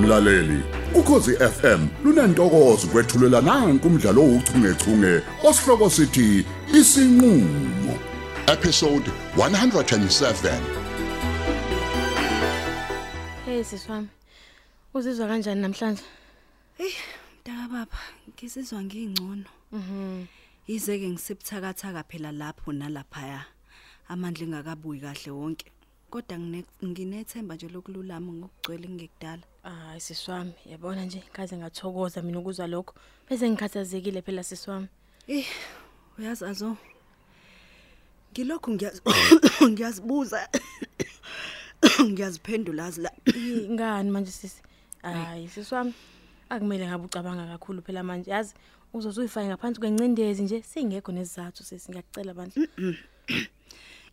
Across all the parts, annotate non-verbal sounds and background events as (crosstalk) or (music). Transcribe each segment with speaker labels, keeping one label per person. Speaker 1: mlaleli ukhosi FM lunantokozo kwethulela nange kumdlalo ouchungechunge osihloko sithi isinqulo episode 107
Speaker 2: Hey sisi wami. Uzizwa kanjani namhlanje?
Speaker 3: Hey, mntaka baba, ngisizwa ngingcono. Mhm. Ize ke ngisebuthakathaka phela lapho nalaphaya. Amandla engakabuyi kahle wonke. Kodwa ngine- nginethemba nje lokululama ngokugcwele ngekudala.
Speaker 2: Hayi sisi wami, yabona nje kaze ngathokoza mina ukuzwa lokho. Bese ngikhathazekile phela sisi wami.
Speaker 3: Eh, uyazi azo. Ngilokhu ngiyazi (coughs) ngiyazibuza. Ngiyaziphendula (coughs) azila.
Speaker 2: Yi- Ngani manje sisi? Hayi sisi wami. Akumele ngabe ucabanga kakhulu phela manje. Yazi uzozuyifaya ngaphansi kwencindezi nje singekho nesizathu sisi ngiyakucela bandla.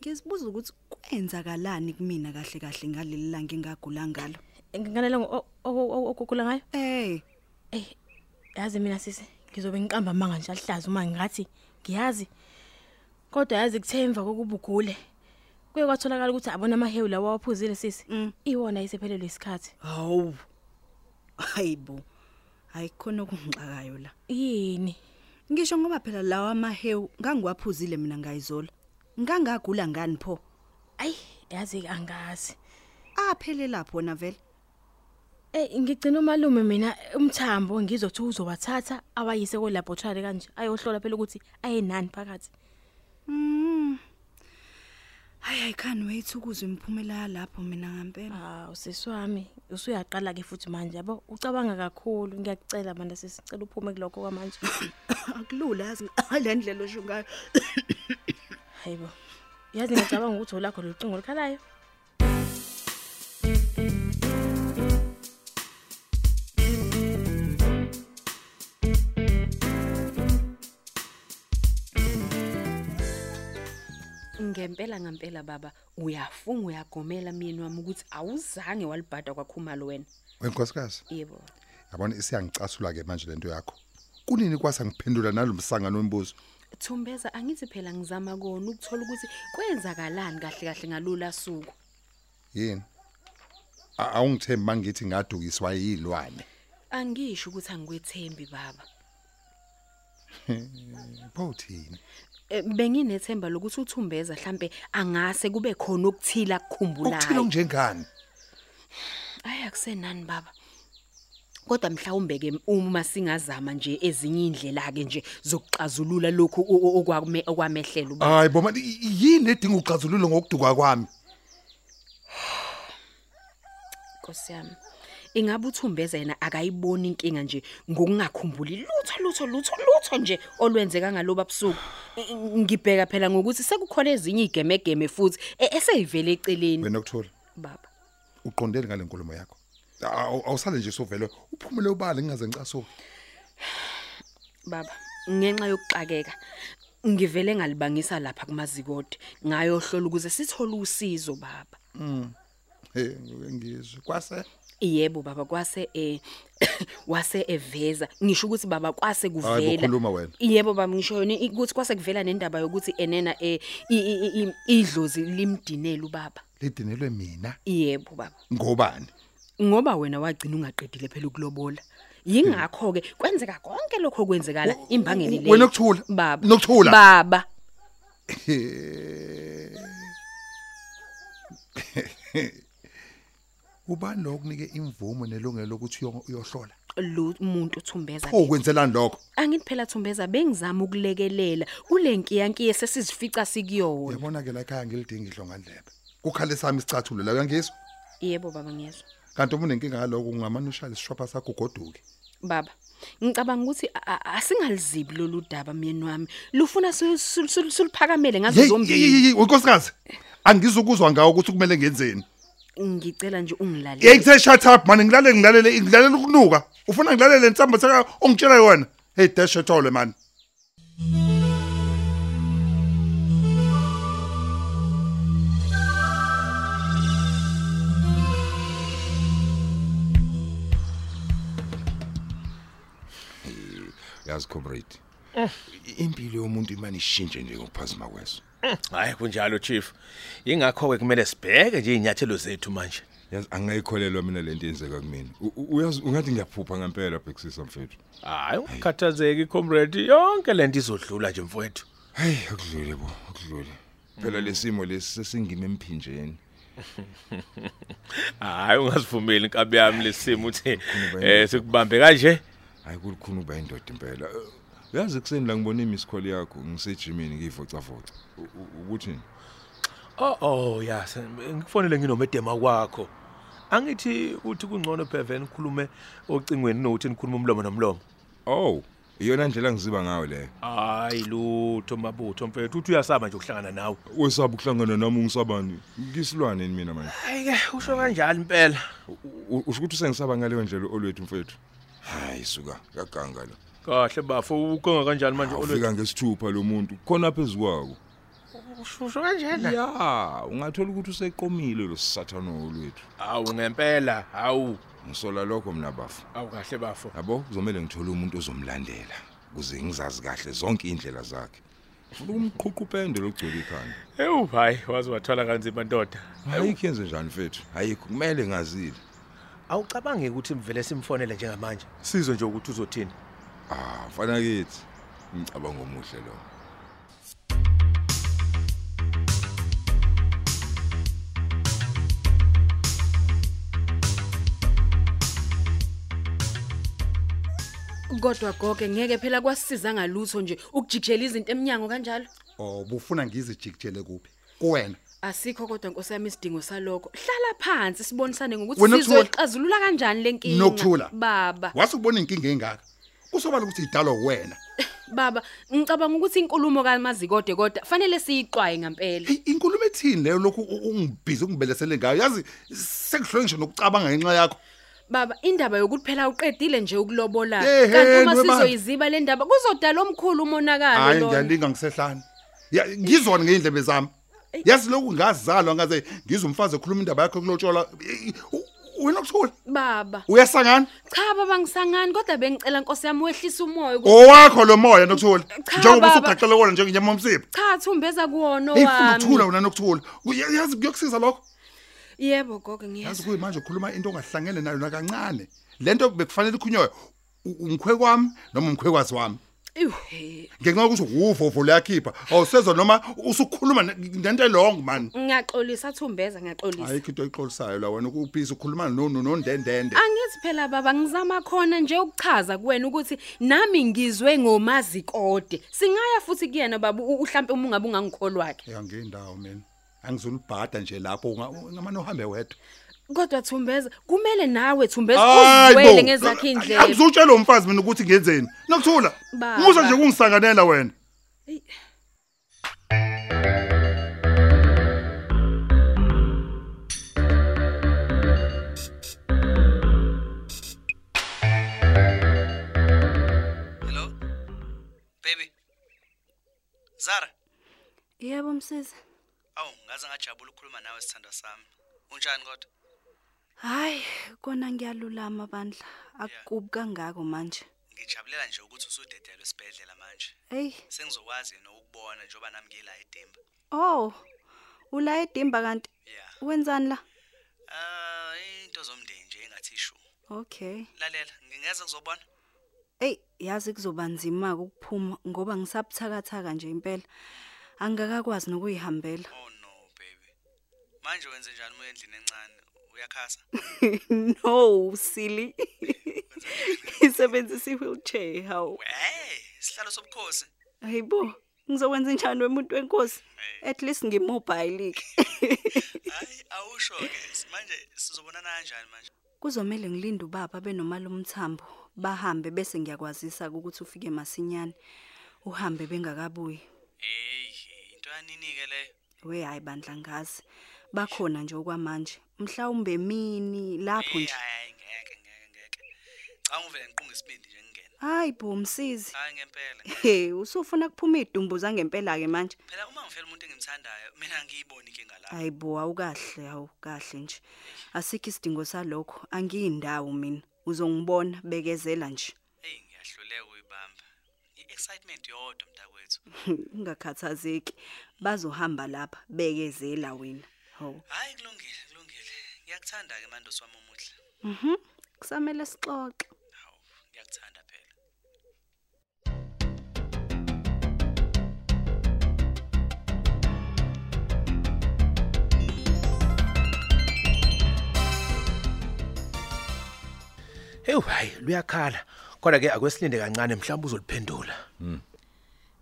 Speaker 3: Ngizibuza ukuthi kwenzakalani kumina kahle kahle ngaleli langa engagula ngalo.
Speaker 2: Nginganele okugula ngayo.
Speaker 3: Eh,
Speaker 2: Ey, yazi mina sisi ngizobe ngiqamba amanga nje alihlaza uma ngingathi ngiyazi. Kodwa yazi kuthemva kokuba ugule. Kuye kwatholakala ukuthi abona amahewu lawa waphuzile sisi.
Speaker 3: Mm.
Speaker 2: Iwona isephelelwe isikhathi.
Speaker 3: Hawu. Hayibo. Hayi khona okungixakayo la.
Speaker 2: Yini?
Speaker 3: Ngisho ngoba phela lawa amahewu ngangiwaphuzile mina ngayizola. Ngangagula ngani pho?
Speaker 2: Ayi, yazi ke angazi.
Speaker 3: Aphelela phona vele.
Speaker 2: Eh ngigcina umalume mina umthambo ngizothi uzowathatha awayise ko laboratory kanje ayohlola phela ukuthi ayenani phakathi.
Speaker 3: Mm. Hayi I can't wait ukuzwe imphumela yalapho mina ngempela.
Speaker 2: Ah usisi wami usuyaqala ke futhi manje yabo ucabanga kakhulu ngiyakucela manje sisicela uphume kuloko kwamanje.
Speaker 3: (coughs) Akulula yazi (coughs) ngalendlela osho (coughs) ngayo.
Speaker 2: Hayibo. Yazi ngicabanga ukuthi olakho locingo likhalayo.
Speaker 4: ngempela ngempela baba uyafunga uyagomela myeni wami ukuthi awuzange walibhada kwakhumalo wena
Speaker 5: Wenkosikazi,
Speaker 4: yebo
Speaker 5: yabona isiyangicasula ke manje lento yakho. Kunini kwasangiphendula nalomsangano wembuzo?
Speaker 4: thumbeza angithi phela ngizama kona ukuthola ukuthi kwenzakalani kahle kahle ngalula suku
Speaker 5: Yini? A- Awungithembi mangithi ngadukiswa yilwane. (laughs)
Speaker 4: angisho ukuthi angikwethembi baba
Speaker 5: Pho uthini?
Speaker 4: Eh, benginethemba lokuthi uthumbeza mhlambe angase kube khona okuthila
Speaker 5: Ukuthina
Speaker 4: akukhumbulayo
Speaker 5: njengani?
Speaker 4: aya kusenani baba kodwa mhlawumbe ke uma singazama nje ezinye indlela ke nje zokuxazulula lokhu o- o- okwakume- okwamehlela ubaba.
Speaker 5: Hayi boma i- i- yini edinga uxazululo ngokudukwa kwami?
Speaker 4: Nkosi yami. Ingabe uthumbeza yena akayiboni inkinga nje ngokungakhumbuli lutho lutho lutho lutho nje olwenzeka ngaloba busuku. I- i- Ngibheka phela ngokuthi sekukhona ezinye igemegeme futhi e- eseyivele eceleni
Speaker 5: Wena okuthula,
Speaker 4: baba.
Speaker 5: uqondele ngale nkulumo yakho. Awu- Awusale nje sovele uphumule ubale ngingaze ngicasuke.
Speaker 4: Baba, ngenxa yokuxakeka ngivele ngalibangisa lapha kumazikode ngayohlola ukuze sithole usizo baba.
Speaker 5: Eh ngizwe kwase.
Speaker 4: Yebo baba kwase eh (coughs) wase eveza ngisho ukuthi baba kwase
Speaker 5: Hayi
Speaker 4: kuvela
Speaker 5: bokhuluma wena.
Speaker 4: Yebo baba ngisho yona i- ukuthi kwase kuvela nendaba yokuthi enena eh i- i- i- i- idlozi limdinela ubaba.
Speaker 5: Lidinelwe mina
Speaker 4: Yebo baba.
Speaker 5: ngobani?
Speaker 4: Ngoba wena wagcina ungaqedile phela ukulobola. Yingakho ke kwenzeka konke lokho kwenzekala
Speaker 5: Wo-
Speaker 4: imbangeni le.
Speaker 5: wena okuthula.
Speaker 4: baba.
Speaker 5: Nokuthula.
Speaker 4: Baba.
Speaker 5: Ubani lo kunike imvumo nelungelo lokuthi uyo- uyohlola?
Speaker 4: lo muntu uthumbeza
Speaker 5: Pho
Speaker 4: ke.
Speaker 5: kwenzelani lokho?
Speaker 4: Angithi phela thumbeza bengizama ukulekelela kulenkiyanki sesizifica sikuyona.
Speaker 5: Uyabona ke la ekhaya ngilidinga ihlongandlebe. Kukhale sami isicathulo la uyangizwa?
Speaker 4: Yebo baba ngiyezwa.
Speaker 5: Kanti uma unenkinga ngaloko ungamanusha lesishopha sakho goduke.
Speaker 4: Baba, ngicabanga ukuthi a- a- asingalizibi lolu daba myeni wami. Lufuna sil- sil- sil- siluphakamele ngazo zombili.
Speaker 5: unkosikazi. Angizukuzwa ngawo ukuthi kumele ngenzeni.
Speaker 4: Ngicela nje ungilalele.
Speaker 5: Ngiyakuthe shut up man ngilalele ngilalele ngilalela ukunuka. Ufuna ngilalele insambo saka ongitshela yona. Hey dash etole man.
Speaker 6: E, yazi comrade impilo yomuntu imani ishintshe nje ngokuphazima kweso
Speaker 7: Hmm,
Speaker 8: hayi kunjalo chief ingakho ke kumele sibheke nje inyathelo zethu manje yazi angayikholelwa mina lento yenzeka kumina U- u- uyazi ungathi ngiyaphupha ngempela bhekisisa mfethu
Speaker 7: hayi ukukhathazeki comrade yonke lento izodlula nje mfowethu
Speaker 8: hayi akudlule bo akudlule phela lesimo lesi sesingime
Speaker 7: (laughs)
Speaker 8: emphinjeni
Speaker 7: hayi ungazivumeli inkabi yami lesimo uthi eh sikubambe kanje
Speaker 8: hayi kulikhulu ukuba indoda impela Eh, uyazi kuseni la ngibona imisikholi yakho ngisejimini ngiyivocavoca U- u- ukuthini
Speaker 7: oh oh yes ngikufonele nginomedema kwakho angithi uthi kungcono Bevan khulume ocingweni nokuthi nikhuluma umlomo nomlomo
Speaker 8: oh iyona ndlela ngiziba ngayo leyo
Speaker 7: hayi lutho mabutho mfethu uthi uyasaba nje ukuhlangana nawe
Speaker 8: wesaba ukuhlangana nami ungisabani ngisilwane ni mina manje
Speaker 7: hayi ke usho kanjani impela
Speaker 8: U- usho ukuthi sengisaba ngaleyo ndlela olwethu mfethu hayi suka kaganga lo
Speaker 7: kahle bafo ukonga kanjani manje olwethu
Speaker 8: ufika ngesithupha lo muntu khona phezulu kwako
Speaker 7: usho kanjena
Speaker 8: ya ungathola ukuthi useqomile lo sathana olwethu
Speaker 7: Awu ngempela, awu,
Speaker 8: ngisola lokho mina bafu
Speaker 7: awu kahle bafo.
Speaker 8: yabo kuzomele ngithole umuntu ozomlandela kuze ngizazi kahle zonke indlela zakhe ufuna umqhuqupende logcola ikhanda
Speaker 7: Ewu hayi, wazi wathwala kanzima ndoda.
Speaker 8: ayikho yenze njani mfethu ayikho kumele ngazile
Speaker 7: Awucabange ukuthi mvele simfonele njengamanje. Sizwe nje ukuthi uzothini.
Speaker 8: ah mfana kithi ngicabanga omuhle lo
Speaker 4: kodwa goge ngeke phela kwasisiza ngalutho nje ukujikijela izinto eminyango kanjalo
Speaker 5: Oh bufuna ngizijikijele kuphi? Kuwena.
Speaker 4: asikho kodwa nkosi yami isidingo saloko hlala phansi sibonisane
Speaker 5: Wena
Speaker 4: ngokuthi
Speaker 5: Thula.
Speaker 4: sizoxazulula kanjani lenkinga
Speaker 5: Nokuthula.
Speaker 4: baba
Speaker 5: Wase ubona inkinga engaka. Kusobala ukuthi idalwa wena.
Speaker 4: baba ngicabanga ukuthi inkulumo kamazikode kodwa fanele siyiqwaye ngempela
Speaker 5: Hey, Inkulumo ethini leyo lokhu u- ungibhizi ungibelesele ngayo. Yazi sekuhlwe nje nokucabanga ngenxa yakho.
Speaker 4: baba indaba yokuthi phela uqedile nje ukulobola
Speaker 5: Ehhe,
Speaker 4: kanti uma
Speaker 5: webani.
Speaker 4: sizoyiziba le ndaba kuzodala omkhulu umonakalo
Speaker 5: Hayi
Speaker 4: lona
Speaker 5: ngiyalinga ngisehlane. Ya ngizona ngeindlebe zami. Yazi lokhu ngazalwa ngaze ngizwe umfazi ekhuluma indaba yakho kulotshola. Eh, u- Wena ukuthula.
Speaker 4: baba
Speaker 5: Uyasangana?
Speaker 4: cha baba ngisangani kodwa bengicela nkosi yami wehlisa umoya ukuthi
Speaker 5: Owakho lo moya nokuthula.
Speaker 4: Cha,
Speaker 5: Njengoba
Speaker 4: baba.
Speaker 5: usugaxele kona njengenyama yomsipho.
Speaker 4: cha thumbeza kuwona
Speaker 5: Hey funa ukuthula
Speaker 4: wami
Speaker 5: wena nokuthula. Uyazi kuyokusiza lokho.
Speaker 4: yebo gogo
Speaker 5: yazi
Speaker 4: ngiyezwa
Speaker 5: kuyimanje ukhuluma into ongahlangene nayo nakancane lento bekufanele ikhunywe umkhwe kwami noma umkhwekwazi wami
Speaker 4: Iwu,
Speaker 5: ngenxa yokuthi uvovo layakhipha awusezwa noma usukhuluma ne- nento elong man
Speaker 4: ngiyaxolisa thumbeza ngiyaxolisa
Speaker 5: ayikho into oyixolisayo la wena ukuphisa ukhuluma no- no- nondendende
Speaker 4: angithi phela baba ngizama khona nje ukuchaza kuwena ukuthi nami ngizwe ngomazikode singaya futhi kuyena baba u- uhlampe uma ungabe ungangikholwa wakhe
Speaker 5: ya ngendawo mina angizulibhada nje lapho unga- ungamane uhambe wedwa
Speaker 4: kodwa thumbeza kumele nawe thumbeza
Speaker 5: Hayi bo.
Speaker 4: uzwele ngezakhe indlela
Speaker 5: angizutshela umfazi mina ukuthi ngenzeni nokuthula
Speaker 4: Baba.
Speaker 5: musa nje kungisanganela wena
Speaker 9: Hello? Baby. Zara,
Speaker 3: Yebo msisi.
Speaker 9: awu ngaze ngajabula ukukhuluma nawe sithanda sami. Unjani kodwa?
Speaker 3: Hayi, kona ngiyalulama bandla. Akukubi kangako manje.
Speaker 9: Ngijabulela nje ukuthi usudedelwe esibhedlela manje.
Speaker 3: Hey,
Speaker 9: Sengizokwazi nokukubona njengoba nami ngila eDemba.
Speaker 3: oh. Ula edimba kanti
Speaker 9: Yeah.
Speaker 3: wenzani la?
Speaker 9: Ah, into zomndeni nje engathi shu.
Speaker 3: Okay.
Speaker 9: Lalela, ngingeze ngizobona.
Speaker 3: Ey, yazi kuzobanzima ukuphuma ngoba ngisabuthakathaka nje impela. Angikakwazi nokuyihambela. (laughs)
Speaker 9: Oh no, baby. Manje wenze njani uma endlini encane? Uyakhasa. (laughs)
Speaker 3: no, silly. Isebenzisa i-wheelchair how?
Speaker 9: Hey, isihlalo sobukhosi.
Speaker 3: Hayibo, ngizokwenza njani wemuntu wenkosi? At least ngimobile ke.
Speaker 9: (laughs) Hayi, awusho ke. Manje sizobonana kanjani manje?
Speaker 3: Kuzomela ngilinde ubaba benomali umthambo bahambe bese ngiyakwazisa ukuthi ufike masinyane. Uhambe bengakabuyi.
Speaker 9: Hey, into yanini ke leyo?
Speaker 3: We hayi bandla ngazi. Bakhona nje okwamanje. Mhlawumbe mini lapho
Speaker 9: Hayi
Speaker 3: nje.
Speaker 9: hayi ngeke ngeke ngeke. Cha uvele ngiqunga isibindi nje ngingena.
Speaker 3: Hayi bo msisi.
Speaker 9: Hayi ngempela.
Speaker 3: Hey, usufuna kuphuma idumbu zangempela ke manje.
Speaker 9: Phela uma ngifela umuntu engimthandayo mina angiyiboni inkinga la.
Speaker 3: Hayi bo awukahle awukahle nje. Asikho isidingo salokho. Angiyindawo mina. Uzongibona bekezela nje.
Speaker 9: Hey ngiyahluleka uyibamba. I-excitement yodwa mntakwethu.
Speaker 3: (laughs) Ungakhathazeki. Bazohamba lapha bekezela wena. Hawu.
Speaker 9: Hayi kulungile kulungile. Ngiya Ngiyakuthanda ke manje wami omuhle.
Speaker 3: Mhm. Kusamele sixoxe.
Speaker 9: Hawu, ngiyakuthanda phela.
Speaker 7: Hey, hayi, luyakhala. Kodwa ke akwesilinde kancane mhlawumbe uzoliphendula.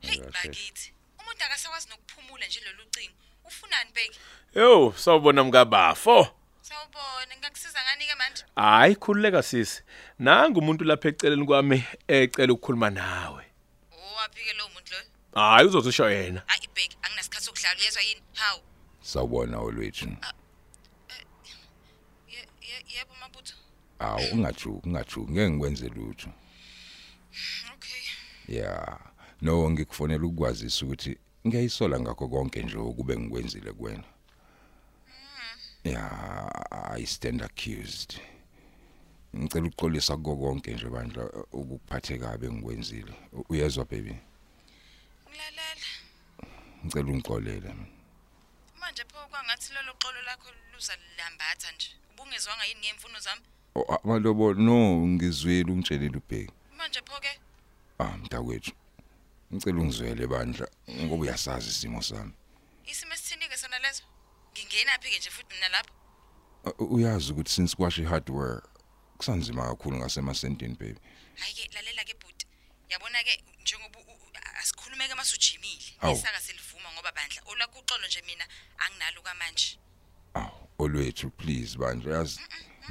Speaker 10: Hey bakithi, umuntu akasakwazi nokuphumula nje lolu cingo. Ufunani beki?
Speaker 7: Yo, sawubona mkabafo.
Speaker 10: Sawubona, ngingakusiza ngani ke manje?
Speaker 7: Hayi khululeka sisi. Nanga umuntu lapha eceleni kwami ecela ukukhuluma nawe.
Speaker 10: Owaphike Oh, lo muntu lo?
Speaker 7: Hayi uzozisho yena.
Speaker 10: Hayi beki, anginasikhathi sokudlala uyezwa yini? Hawu.
Speaker 6: Sawubona olwethu.
Speaker 10: Ah, eh, Ye- ye- Yebo mabutho.
Speaker 6: Awu ungajuki, ungajuki, ngeke ngikwenze lutho.
Speaker 10: Okay.
Speaker 6: Yeah. No ngikufonela ukwazisa ukuthi ngiyayisola ngakho konke nje ukube ngikwenzile kuwena.
Speaker 10: Mm.
Speaker 6: Yeah, I stand accused. Ngicela ukuxolisa kuko konke nje bandla ukuphathe kabi ngikwenzile. U- Uyezwa baby?
Speaker 10: Ngilalela.
Speaker 6: Ngicela ungixolele.
Speaker 10: Manje pho kwangathi lolo xolo lakho luzalilambatha nje. Ubungezwanga yini ngemfuno zami?
Speaker 6: Oh, Amalobo no ngizwile umtshelile ubheki.
Speaker 10: Manje pho ke
Speaker 6: Ah mntakwethu. Ngicela ungizwele bandla ngoba uyasazi isimo sami.
Speaker 10: isimo esithinike sona lezo? Ngingenaphi ke nje futhi mina lapho?
Speaker 6: Uh, uyazi ukuthi since kwashi hardware kusanzima kakhulu ngasemasentini baby
Speaker 10: Hayi ke lalela ke bhuti. Yabona ke njengoba u- u- asikhulumeke masujimile.
Speaker 6: Awu.
Speaker 10: Isaka selivuma ngoba bandla olakho uxolo nje mina anginalo kamanje.
Speaker 6: olwethu please bandla yazi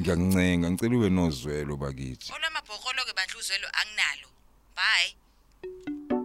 Speaker 6: ngiyakuncenga ngicela ube nozwelo bakithi
Speaker 10: Olamabhokolo ke bandla uzwelo anginalo. Bye.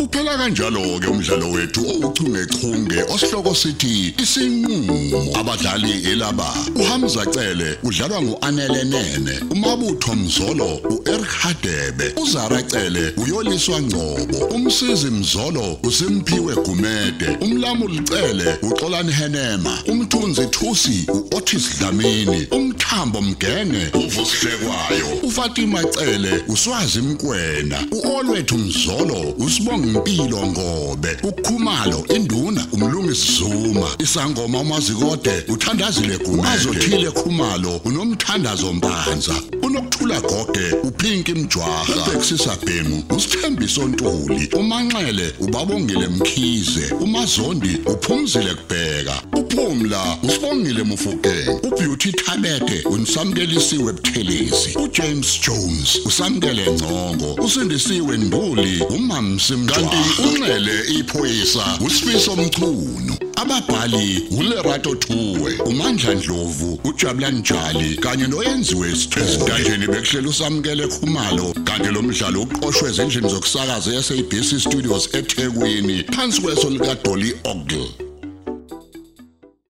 Speaker 1: Uphela kanjalo ke umdlalo wethu owuchungechunge osihloko sithi isinqulo abadlali elaba uHamza Cele udlalwa nguAnele Nene uMabutho Mzolo uEric Hadebe uZara Cele uyoliswa Ngcobo umsizi Mzolo uSimpiwe Gumede umlamuli Cele uXolani Henema umthunzi Thusi uOtis Dlamini umthambo Mgenge uvusihlekwayo uFatima Cele uswazi Mkwena uOlwethu Mzolo usibonga impilo ngobe ukhumalo induna umlungisi Zuma isangoma umazikode uthandazile gume azothile khumalo unomthandazo mpanza unokuthula gogwe uphinki mjwaha ubexisa bhemu usithembiso ntuli umanxele ubabongile mkhize umazondi uphumzile kubheka uphumla usibongile mufuke ubeauty thabete unisamkelisiwe ebuthelezi ujames jones usamkele ngcongo usindisiwe nduli umamsimkanti unxele iphoyisa usifiso mchunu ababhali ulerato thuwe umandla ndlovu ujabulani njali kanye noyenziwe isithezintayeni bekuhlela usamukele khumalo kanti lo mdlalo uqoshwe ezindlini zokusakaza yasabc studios ethekwini phansi kweso likadoli ogle